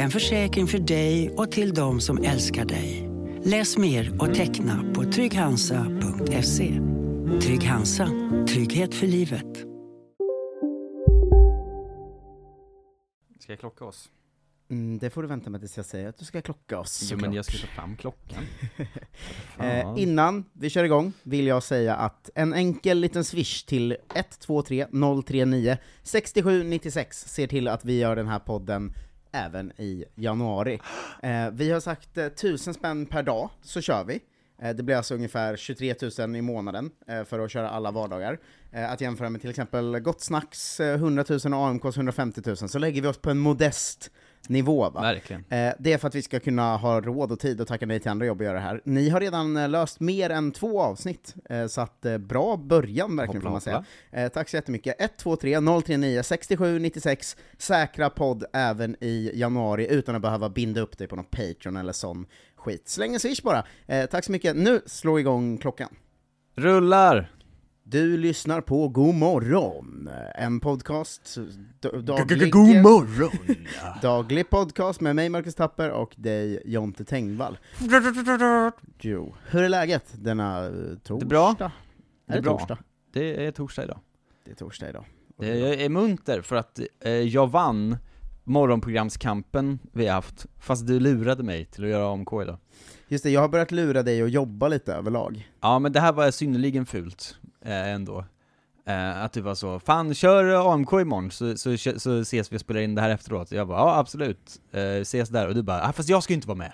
En försäkring för dig och till de som älskar dig. Läs mer och teckna på trygghansa.se. Trygg Hansa. Trygghet för livet. Ska jag klocka oss? Mm, det får du vänta med tills jag säger att du ska klocka oss. Jo men såklart. jag ska ta fram klockan. Eh, Fan. innan vi kör igång vill jag säga att en enkel liten swish till 123 039 6796 ser till att vi gör den här podden även i januari. Eh, vi har sagt eh, 1000 spänn per dag, så kör vi. Eh, det blir alltså ungefär 23 000 i månaden eh, för att köra alla vardagar. Eh, att jämföra med till exempel Gott Snacks eh, 100 000 och AMKs 150 000, så lägger vi oss på en modest nivå va? Verkligen. Eh, Det är för att vi ska kunna ha råd och tid att tacka nej till andra jobb och göra det här. Ni har redan eh, löst mer än två avsnitt, eh, så att eh, bra början verkligen får man Hoppla, säga. Eh, Tack så jättemycket. 123 039 67 96, säkra podd även i januari utan att behöva binda upp dig på någon Patreon eller sån skit. Släng en swish bara. Eh, Tack så mycket. Nu slår igång klockan. Rullar! Du lyssnar på God morgon, en podcast, d- daglig, morgon! daglig podcast med mig Marcus Tapper och dig Jonte Tengvall. Jo. Hur är läget denna eh, torsdag? är bra. Är Det det, är bra. torsdag? Det är torsdag idag. Det är torsdag idag. Det- Jag är munter för att eh, jag vann morgonprogramskampen vi har haft, fast du lurade mig till att göra AMK idag. Just det, jag har börjat lura dig att jobba lite överlag. Ja men det här var synnerligen fult, eh, ändå. Eh, att du var så, fan kör AMK imorgon så, så, kö- så ses vi och spelar in det här efteråt. Jag bara, ja absolut, eh, ses där. Och du bara, ah, fast jag ska ju inte vara med.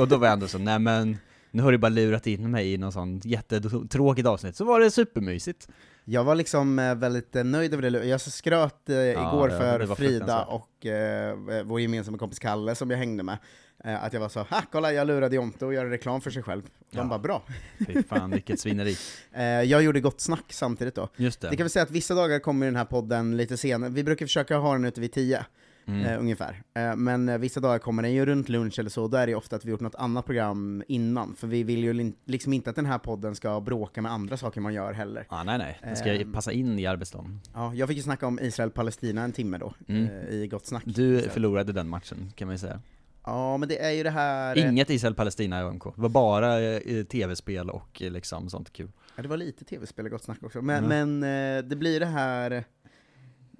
och då var jag ändå så, nej men, nu har du bara lurat in mig i något sånt jättetråkigt avsnitt. Så var det supermysigt. Jag var liksom eh, väldigt eh, nöjd över det. Jag skröt eh, igår det- för det var Frida fruktansvärt. och eh, vår gemensamma kompis Kalle som jag hängde med, eh, att jag var så ha kolla jag lurade Jonte att göra reklam för sig själv. De Ja. bara bra. Fy fan vilket svineri. Eh, jag gjorde gott snack samtidigt då. Just det. Det kan vi säga att vissa dagar kommer den här podden lite senare, vi brukar försöka ha den ute vid 10 Mm. eh, ungefär. Eh, men eh, vissa dagar kommer den ju runt lunch eller så, då är det ju ofta att vi gjort något annat program innan, för vi vill ju lin- liksom inte att den här podden ska bråka med andra saker man gör heller. Ah, nej nej, det ska Ehm. passa in i arbetsdagen. Ja, jag fick ju snacka om Israel-Palestina en timme då, Mm. eh, i Gott Snack. Du Så- förlorade den matchen, kan man ju säga. Ja, men det är ju det här... eh, Inget Israel-Palestina i AMK, det var bara eh, tv-spel och eh, liksom sånt kul. Ja, det var lite tv-spel i Gott Snack också, men, men eh, det blir det här...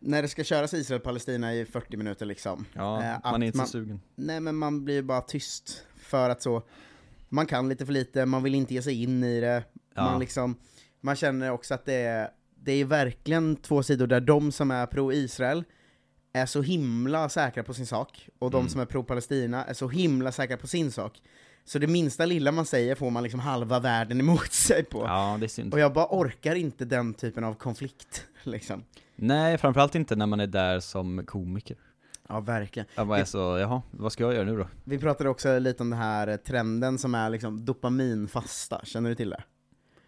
När det ska köras Israel-Palestina i 40 minuter liksom, Ja, Eh, att man är inte man- så sugen. Nej men man blir ju bara tyst för att så, man kan lite för lite, man vill inte ge sig in i det, Ja. man liksom, man känner också att det är, det är verkligen två sidor där de som är pro-Israel är så himla säkra på sin sak, och de som är pro-Palestina är så himla säkra på sin sak. Så det minsta lilla man säger får man liksom halva världen emot sig på. Ja, det är synd. Och jag bara orkar inte den typen av konflikt, liksom. Nej, framförallt inte när man är där som komiker. Ja, verkligen. Jag bara är så, jaha, vad ska jag göra nu då? Vi pratade också lite om den här trenden som är liksom dopaminfasta, känner du till det?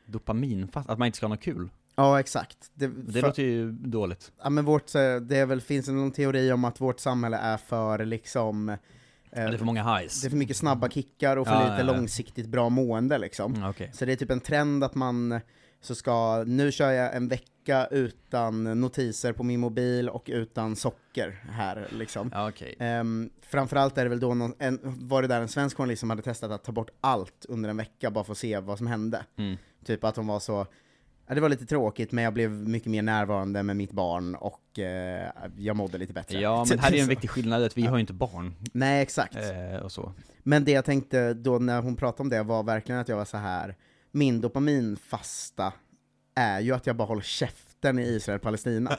Dopaminfast, att man inte ska ha något kul. Ja, exakt. Det, Det för, låter ju dåligt. ja, men vårt, eh, det är väl, finns det någon teori om att vårt samhälle är för liksom... eh, Det är för många highs. det är för mycket snabba kickar och för Ja, lite ja, ja. långsiktigt bra mående liksom. Mm, Okej. Så det är typ en trend att man så ska, nu kör jag en vecka utan notiser på min mobil och utan socker här liksom. Ja, okej. Ehm, framförallt är det väl då någon, en, var det där en svensk journalist som hade testat att ta bort allt under en vecka bara för att se vad som hände. Mm. Typ att hon var så, ja, det var lite tråkigt men jag blev mycket mer närvarande med mitt barn och eh, jag mådde lite bättre. Ja, men Typ här är ju en så. viktig skillnad att vi har ju inte barn. Nej exakt. Eh, och så. Men det jag tänkte då när hon pratade om det var verkligen att jag var så här min dopaminfasta är ju att jag bara håller käft konflikten i Israel-Palestina.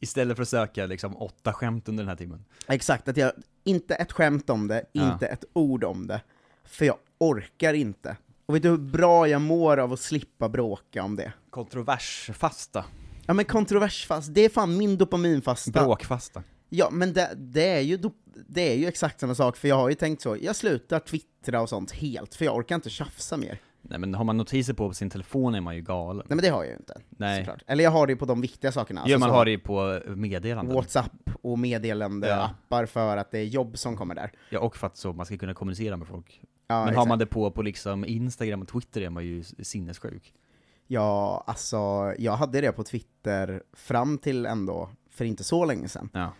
Istället för att söka liksom åtta skämt under den här timmen. Exakt, att jag, inte ett skämt om det, Ja. inte ett ord om det. För jag orkar inte. Och vet du hur bra jag mår av att slippa bråka om det? Kontroversfasta. Ja men kontroversfast, det är fan min dopaminfasta. Bråkfasta. Ja men det, det, är ju dop- det är ju exakt samma sak, för jag har ju tänkt så, jag slutar twittra och sånt helt, för jag orkar inte tjafsa mer. Nej men har man notiser på sin telefon är man ju galen. Nej men det har jag ju inte. Nej. Såklart. Eller jag har det ju på de viktiga sakerna. ja, alltså man så- har det ju på eh, meddelanden. Whatsapp och meddelandeappar för att det är jobb som kommer där. Ja, och för att så man ska kunna kommunicera med folk. Ja, men har exakt. man det på, på liksom Instagram och Twitter är man ju sinnessjuk. Ja, alltså jag hade det på Twitter fram till ändå för inte så länge sedan. Ja.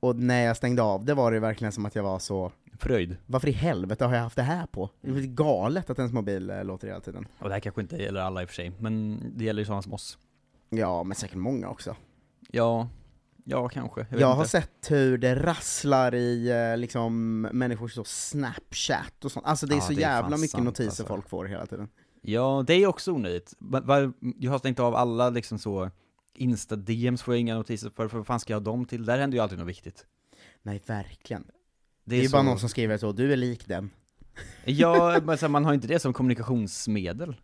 Och när jag stängde av det var det verkligen som att jag var så, Fröjd. varför i helvete har jag haft det här på? Det är väl galet att ens mobil eh, låter hela tiden. Och det här kanske inte gäller alla i och för sig, men det gäller ju sådana som oss. Ja, men säkert många också. Ja, ja kanske. Jag, Jag, vet inte. har sett hur det rasslar i eh, liksom människors så Snapchat och sånt. Alltså det är Ja, så det är jävla fan mycket sant, notiser alltså. folk får hela tiden. Ja, det är också onödigt. Va- va- Jag har stängt av alla liksom så Insta-DMs får jag inga notiser för, för vad fan ska jag ha dem till? Där händer ju alltid något viktigt. Nej, verkligen. Det Det är ju så- bara någon som skriver så, du är lik den. Ja, men så här, man har inte det som kommunikationsmedel.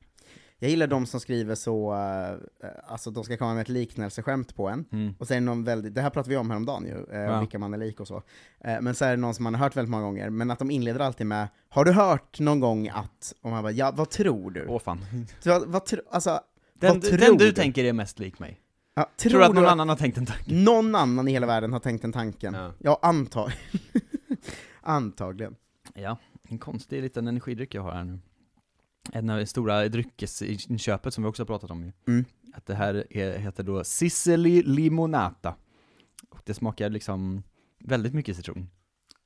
Jag gillar de som skriver så, eh, alltså de ska komma med ett liknelseskämt på en, Mm. och sen någon väldigt, det här pratade vi om häromdagen ju, eh, Ja. vilka man är lik och så. Eh, men så är det någon som man har hört väldigt många gånger, men att de inleder alltid med Har du hört någon gång att, och man bara ja, vad tror du? Åh fan. Vad, vad tro, alltså, Den, vad tror den du du? tänker är mest lik mig. ja, Tror, tror att någon du annan har tänkt en tanke? Någon annan i hela världen har tänkt den tanken. Ja. Ja, antag antagligen. Ja, en konstig liten energidryck jag har här nu. En av de stora dryckesinköpet som vi också har pratat om ju. Mm. Att det här är, heter då Sicily Limonata. Och det smakar liksom väldigt mycket citron.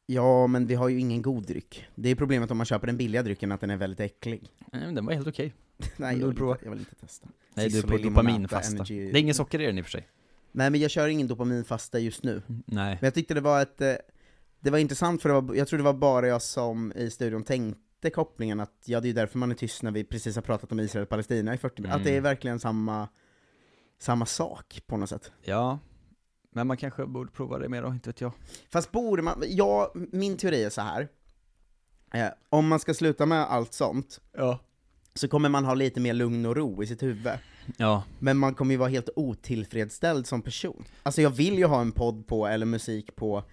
Ja, men vi har ju ingen god dryck. Det är problemet om man köper den billiga drycken, att den är väldigt äcklig. Nej, men den var helt okej. Nej, du jag vill, prova? inte, jag vill inte testa. Nej, du är på Sicily limonata, dopaminfasta. energy- Det är ingen socker i den i och för sig. Nej, men jag kör ingen dopaminfasta just nu. Nej. Mm. Men jag tyckte det var ett, eh, det var intressant för det var, jag tror det var bara jag som i studion tänkte kopplingen att, ja det är ju därför man är tyst när vi precis har pratat om Israel och Palestina i 40 minuter, Mm. att det är verkligen samma, samma sak på något sätt. Ja. Men man kanske borde prova det mer då, inte vet jag. Fast borde man, ja, min teori är så här. Eh, om man ska sluta med allt sånt, Ja. så kommer man ha lite mer lugn och ro i sitt huvud. Ja. Men man kommer ju vara helt otillfredsställd som person. Alltså jag vill ju ha en podd på, eller musik på,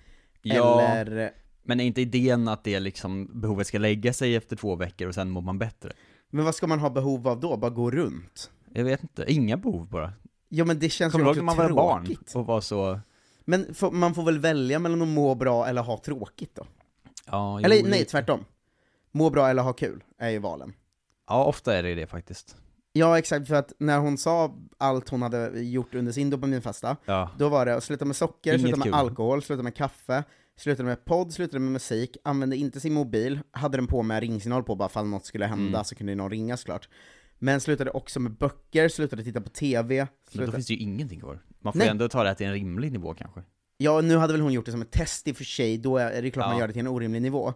Ja. eller Men är inte idén att det liksom, behovet ska lägga sig efter två veckor och sen mår man bättre? Men vad ska man ha behov av då? Bara gå runt? Jag vet inte, inga behov bara. Ja men det känns Kommer ju du ihåg också när man var barn tråkigt. och var så... Men får- man får väl välja mellan att må bra eller ha tråkigt då? Ja, jo, eller det- nej, tvärtom. Må bra eller ha kul, är ju valen. Ja, ofta är det det faktiskt. Ja exakt, för att när hon sa allt hon hade gjort under sin dopaminfasta, Ja. då var det att sluta med socker, Inget sluta med kul. alkohol, sluta med kaffe, sluta med podd, sluta med musik, använde inte sin mobil, hade den på med ringsignal på bara fall något skulle hända Mm. så kunde ju någon ringa såklart. Men slutade också med böcker, slutade titta på TV, Men då slutade finns det ju ingenting kvar. Man får Nej. ju ändå ta det här till en rimlig nivå kanske. Ja, nu hade väl hon gjort det som ett test i och för sig, då är det klart Ja. man gör det till en orimlig nivå.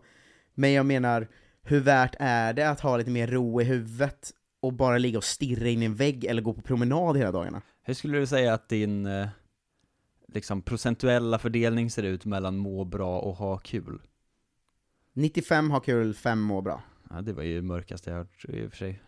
Men jag menar, hur värt är det att ha lite mer ro i huvudet och bara ligga och stirra in i en vägg eller gå på promenad hela dagarna? Hur skulle du säga att din eh, liksom procentuella fördelning ser ut mellan må bra och ha kul? 95 har kul, 5 mår bra. Ja, det var ju det mörkaste jag hört i och för sig.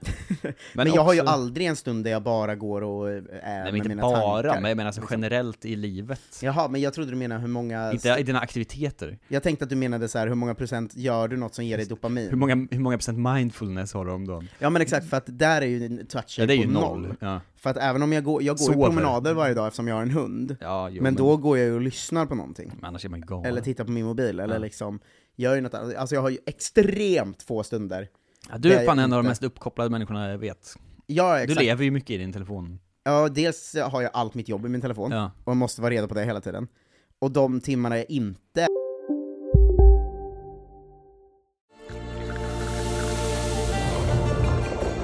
Men, jag har ju också- aldrig en stund där jag bara går och eh, är Nej, med men inte mina bara, tankar. liksom. men jag menar alltså generellt i livet. Jaha, men jag trodde du menade hur många... Inte i dina aktiviteter. Jag tänkte att du menade så här, hur många procent gör du något som ger dig Hur dopamin? många, hur många procent mindfulness har du om dagen? Ja men exakt, för att där är ju touchen Ja, det är på ju noll. Ja, För att även om jag går, jag går ju Sover. promenader varje dag eftersom jag har en hund, ja jo, men då går jag ju och lyssnar på någonting. men annars är man ju galen. eller tittar på min mobil, eller Ja. liksom gör ju något annat. Alltså jag har ju extremt få stunder. ja, du det är är fan en av de inte. mest uppkopplade människorna jag vet. Ja, Du exakt. lever ju mycket i din telefon. Ja, dels har jag allt mitt jobb i min telefon, Ja. och jag måste vara redo på det hela tiden. Och de timmarna jag inte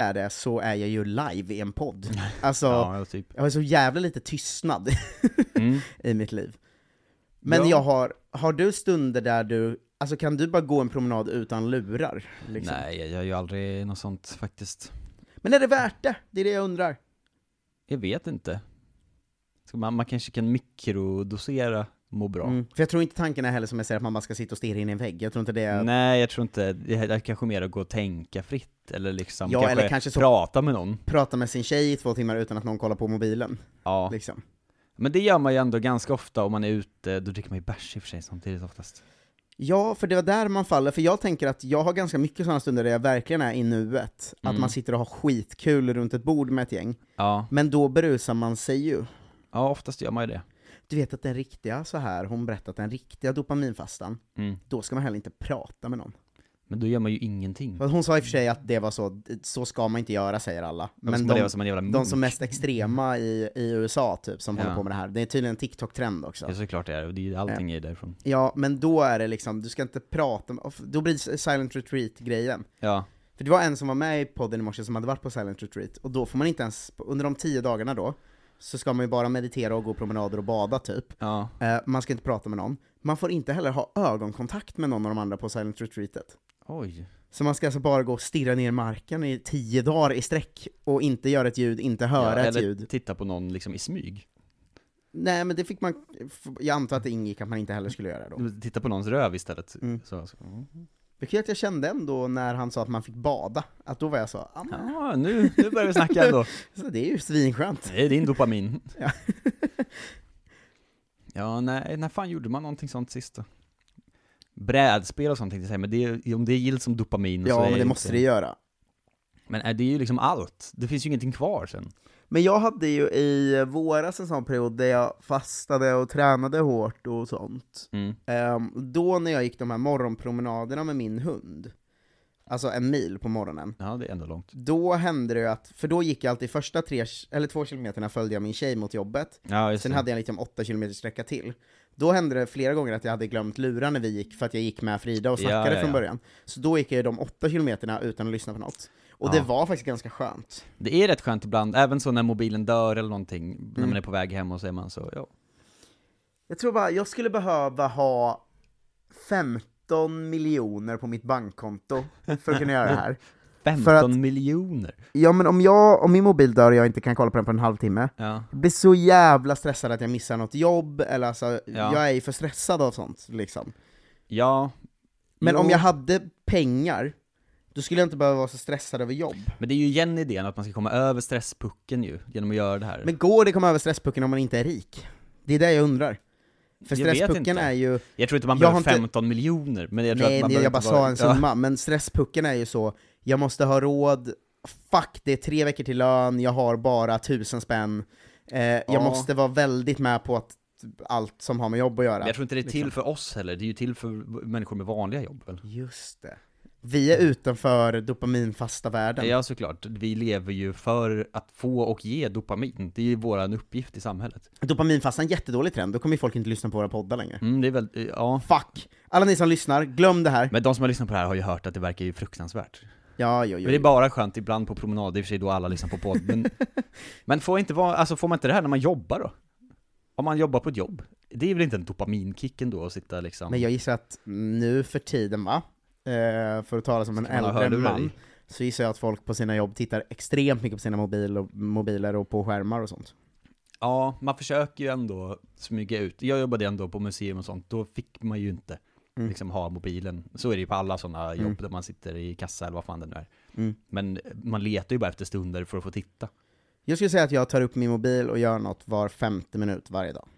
är det så är jag ju live i en podd. Alltså, Ja, typ. jag har så jävla lite tystnad Mm. i mitt liv. Men Ja. jag har, har du stunder där du, alltså kan du bara gå en promenad utan lurar? Liksom? Nej, jag gör ju aldrig något sånt faktiskt. Men är det värt det? Det är det jag undrar. Jag vet inte. Ska Man, man kanske kan mikrodosera må bra. Mm. För jag tror inte tanken är heller som jag säger att man bara ska sitta och stirra in i en vägg, jag tror inte det är... Nej, jag tror inte, det här det här kanske mer att gå och tänka fritt, eller liksom Ja, kanske, eller kanske så- prata med någon. Prata med sin tjej i två timmar utan att någon kollar på mobilen, Ja. liksom. Men det gör man ju ändå ganska ofta om man är ute, då dricker man ju bärs i och för sig samtidigt oftast. Ja, för det var där man faller, för jag tänker att jag har ganska mycket sådana stunder där jag verkligen är i nuet. Att Mm. man sitter och har skitkul runt ett bord med ett gäng, Ja, men då berusar man sig ju. ja oftast gör man ju det. Du vet att den riktiga, så här, hon berättat den riktiga dopaminfastan, Mm. då ska man heller inte prata med någon. Men då gör man ju ingenting. För Hon sa i och för sig att det var så, så ska man inte göra säger alla. Men Men Alltså, man de, leva som en jävla de som munk. mest extrema i, i USA typ, som Mm. Ja. håller på med det här, det är tydligen en TikTok-trend också. Ja, såklart det är, och det är ju allting är ju därifrån. Ja, men då är det liksom, du ska inte prata med, då blir det silent retreat-grejen. Ja, För det var en som var med i podden i morse som hade varit på silent retreat, och då får man inte ens, under de tio dagarna då, så ska man ju bara meditera och gå promenader och bada typ. ja. Eh, man ska inte prata med någon. Man får inte heller ha ögonkontakt med någon av de andra på silent retreatet. Oj. Så man ska alltså bara gå och stirra ner i marken i tio dagar i sträck, och inte göra ett ljud, inte höra ja, ett eller ljud. titta på någon liksom i smyg. Nej men det fick man, jag antar att det ingick att man inte heller skulle göra då. Titta på någons röv istället. Mm. Så, så. mm. Vilket jag kände ändå när han sa att man fick bada, att då var jag så, "Ah, men, Ja, nu, nu börjar vi snacka ändå. så det är ju svinskönt. Det är din dopamin. Ja. ja, nej, när fan gjorde man någonting sånt sist då? Brädspel och sånt tänkte jag säga, men det, är- om det gills som dopamin Mm, så Ja är men det inte- måste det göra. Men är det är ju liksom allt. Det finns ju ingenting kvar sen. Men jag hade ju i våras en sån period där jag fastade och tränade hårt och sånt. Mm. Ehm, då när jag gick de här morgonpromenaderna med min hund, alltså en mil på morgonen, Ja, det är ändå långt. då hände det ju att, för då gick jag alltid första tre, eller två kilometerna följde jag min tjej mot jobbet, Ja, just Sen det. hade jag liksom 8 km sträcka till. Då hände det flera gånger att jag hade glömt lurar när vi gick, för att jag gick med Frida och Ja, snackade ja, från ja. början. Så då gick jag ju de 8 kilometerna utan att lyssna på något. Och Ja. det var faktiskt ganska skönt. Det är rätt skönt ibland, även så när mobilen dör eller någonting, när Mm. man är på väg hem och så är man så, ja. Jag tror bara, jag skulle behöva ha 15 miljoner på mitt bankkonto för att kunna göra det här. 15 För att- miljoner! Ja men om, jag, om min mobil dör och jag inte kan kolla på den på en halvtimme, Ja. jag blir så jävla stressad att jag missar något jobb, eller alltså, jag är ju för stressad av sånt liksom. Ja. Men om Jo. jag hade pengar, då skulle jag inte behöva vara så stressad över jobb. Men det är ju igen idén att man ska komma över stresspucken ju, genom att göra det här. Men går det komma över stresspucken om man inte är rik? Det är det jag undrar. För Jag vet stresspucken inte. är ju, jag tror inte man jag behöver har inte- 15 miljoner, men jag tror nej att man jag, behöver jag bara inte sa vara- en Ja. summa, men stresspucken är ju så, jag måste ha råd, fuck det är tre veckor till lön, jag har bara tusen spänn, eh, jag Ja. måste vara väldigt med på att allt som har med jobb att göra. Men jag tror inte det är till liksom. för oss heller, det är ju till för människor med vanliga jobb väl? Just det. Vi är utanför dopaminfasta världen. Ja såklart, vi lever ju för att få och ge dopamin, det är ju våran uppgift i samhället. Dopaminfasta är en jättedålig trend, då kommer ju folk inte lyssna på våra poddar längre. Mm, det är väl, ja. Fuck! Alla ni som lyssnar, glöm det här. Men de som har lyssnat på det här har ju hört att det verkar ju fruktansvärt. Ja, jo, jo. Men det är bara skönt ibland på promenad, i och för sig då alla lyssnar på podd, men, men får, inte vara, alltså får man inte det här när man jobbar då? Om man jobbar på ett jobb? Det är väl inte en dopaminkick ändå att sitta liksom... Men jag gissar att nu för tiden va, eh, för att tala som en Ska man ha äldre hörlurar man, i? så gissar jag att folk på sina jobb tittar extremt mycket på sina mobil och, mobiler och på skärmar och sånt. Ja, man försöker ju ändå smyga ut. Jag jobbade ändå på museum och sånt, då fick man ju inte Mm. liksom ha mobilen. Så är det ju på alla sådana jobb Mm. där man sitter i kassa eller vad fan det nu är. Mm. Men man letar ju bara efter stunder för att få titta. Jag skulle säga att jag tar upp min mobil och gör något var femte minut varje dag.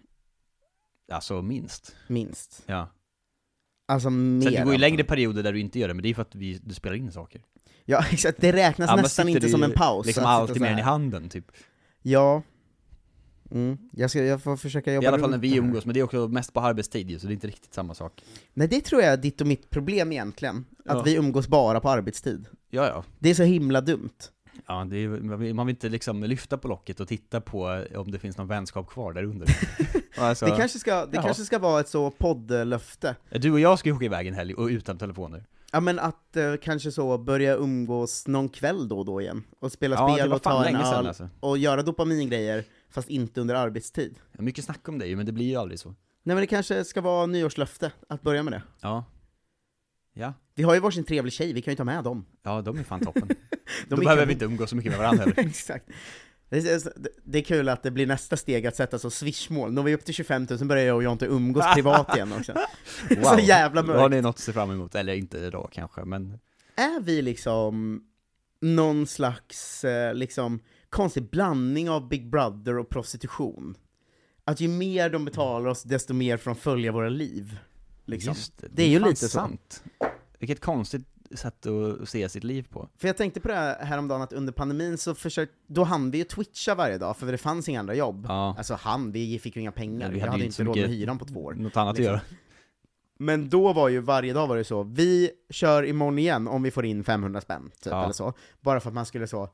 Alltså minst. Minst. Ja. Alltså mer. Så att det går ju antar längre jag. perioder där du inte gör det, men det är ju för att vi, du spelar in saker. Ja exakt, det räknas Annars nästan sitter inte det som ju en paus. Liksom att sitta alltid så med den här. i handen, typ. Ja. Mm. Jag, ska, jag får försöka jobba I alla fall när runt vi det här. umgås, men det är också mest på arbetstid ju, så det är inte riktigt samma sak. Nej det tror jag är ditt och mitt problem egentligen, Ja. att vi umgås bara på arbetstid. Ja, ja. Det är så himla dumt. ja det är, man vill man vill inte liksom lyfta på locket och titta på eh, om det finns någon vänskap kvar där under. alltså, Det, kanske ska, det Ja. kanske ska vara ett så poddlöfte. Du och jag ska ju åka iväg en helg, och utan telefoner. Ja men att eh, kanske så börja umgås någon kväll då och då igen, och spela Ja, det spel var och ta fan en länge sedan öl, alltså. och göra dopamingrejer, fast inte under arbetstid. Mycket snack om det ju, men det blir ju aldrig så. Nej men det kanske ska vara nyårslöfte, att börja med det. Ja. Ja. Vi har ju varsin trevlig tjej, vi kan ju ta med dem. Ja, de är fan toppen. De Då är behöver kanon. vi inte umgås så mycket med varandra heller. Exakt. Det är, det är kul att det blir nästa steg att sätta så swishmål. Når vi upp till 25 000 börjar jag och Jonte umgås privat igen också. Så jävla Då Har mörkt. ni något att se fram emot? Eller inte idag kanske, men... Är vi liksom någon slags eh, liksom, konstig blandning av Big Brother och prostitution? Att ju mer de betalar oss, desto mer får de följa våra liv. Liksom. Just det, är ju fan lite så. sant. Vilket konstigt sätt att se sitt liv på. För jag tänkte på det här häromdagen att under pandemin så försökte, då hann vi ju twitcha varje dag för det fanns inga andra jobb. Ja. Alltså han, vi fick ju inga pengar, Ja, vi hade, ju inte så råd med mycket- hyran på två år. Något annat liksom. att göra. Men då var ju varje dag var det så, vi kör imorgon igen om vi får in 500 spänn, typ, Ja. eller så. Bara för att man skulle så,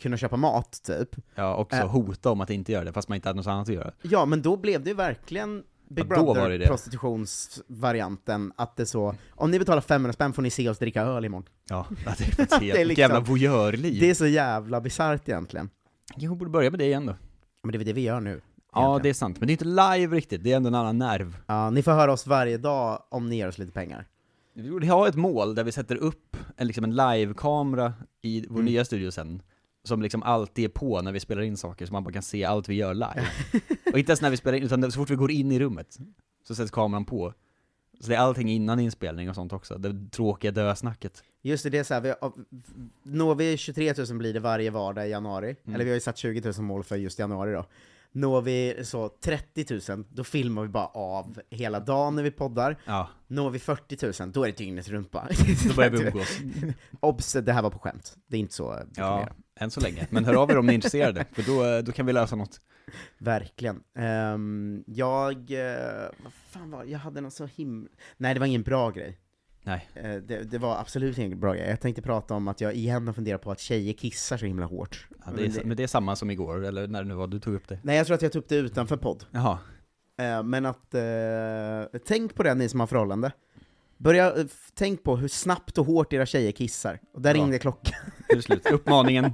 kunna köpa mat, typ. Ja, och så Äh. hota om att inte göra det, fast man inte hade något annat att göra. Ja, men då blev det ju verkligen Big Ja, då var det det. Brother-prostitutionsvarianten, att det så, om ni betalar 500 spänn får ni se oss dricka öl imorgon. Ja, det är faktiskt helt, vilket liksom- jävla voyeurliv. Det är så jävla bisarrt egentligen. Jag borde börja med det igen då. Men det är väl det vi gör nu. Ja, det är sant. Men det är inte live riktigt, det är ändå en annan nerv. Ja, ni får höra oss varje dag om ni ger oss lite pengar. Vi borde ha ett mål där vi sätter upp en, liksom en live-kamera i vår nya studio sen, som liksom alltid är på när vi spelar in saker, så man bara kan se allt vi gör live. och inte ens när vi spelar in, utan så fort vi går in i rummet, så sätts kameran på. Så det är allting innan inspelning och sånt också, det tråkiga dösnacket. Just det, det är så här, vi, av- når vi 23 000 blir det varje vardag i januari, Mm. eller vi har ju satt 20 000 mål för just januari då. Når vi så 30 000, då filmar vi bara av hela dagen när vi poddar. Ja, Når vi 40 000, då är det dygnet runt bara. då börjar vi umgås. Obs, det här var på skämt. Det är inte så det Ja, fungerar. än så länge. Men hör av er om ni är intresserade, för då, då kan vi lösa något. Verkligen. Ehm, jag, eh, vad fan var det? jag hade någon så himla... Nej, det var ingen bra grej. Nej. Eh, det, det var absolut ingen bra grej. Jag tänkte prata om att jag igen har funderat på att tjejer kissar så himla hårt. Ja, det Men är, men det är samma som igår, eller när det nu var du tog upp det. Nej, jag tror att jag tog upp det utanför podd. Jaha. Eh, men att, eh, tänk på det ni som har förhållande. Börja, eh, f- tänk på hur snabbt och hårt era tjejer kissar. Och där Ja. ringde klockan. Nu är det slut. Uppmaningen.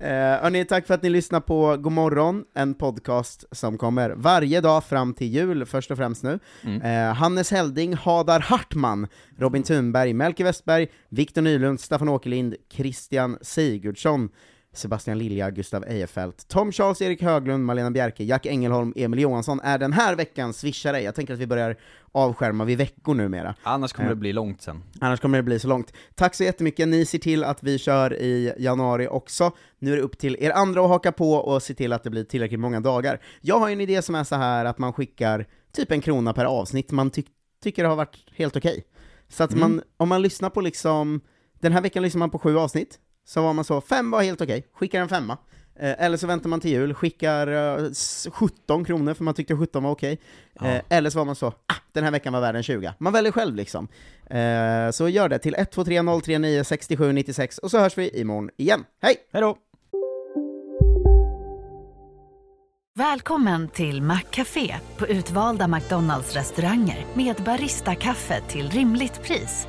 Eh, hörni, tack för att ni lyssnar på God morgon, en podcast som kommer varje dag fram till jul, först och främst nu. Eh, Hannes Helding, Hadar Hartman, Robin Thunberg, Melke Westberg, Viktor Nylund, Staffan Åkerlind, Christian Sigurdsson, Sebastian Lilja, Gustav Ejefeldt, Tom Charles, Erik Höglund, Malena Bjerke, Jack Engelholm, Emil Johansson är den här veckan swishare. Jag tänker att vi börjar avskärma vid veckor numera. Annars kommer det bli långt sen. Annars kommer det bli så långt. Tack så jättemycket, ni ser till att vi kör i januari också. Nu är det upp till er andra att haka på och se till att det blir tillräckligt många dagar. Jag har ju en idé som är så här att man skickar typ en krona per avsnitt man ty- tycker har varit helt okej. Så att man, om man lyssnar på liksom, den här veckan lyssnar man på sju avsnitt, så var man så, fem var helt okej, skickar en femma. Eh, Eller så väntar man till jul, skickar eh, s- 17 kronor för man tyckte 17 var okej. Eh, Eller så var man så, ah, den här veckan var värd en 20. Man väljer själv liksom. Eh, Så gör det till 123 039 67 96 och så hörs vi imorgon igen. Hej! Hej då! Välkommen till Maccafé på utvalda McDonalds restauranger med Baristakaffe till rimligt pris.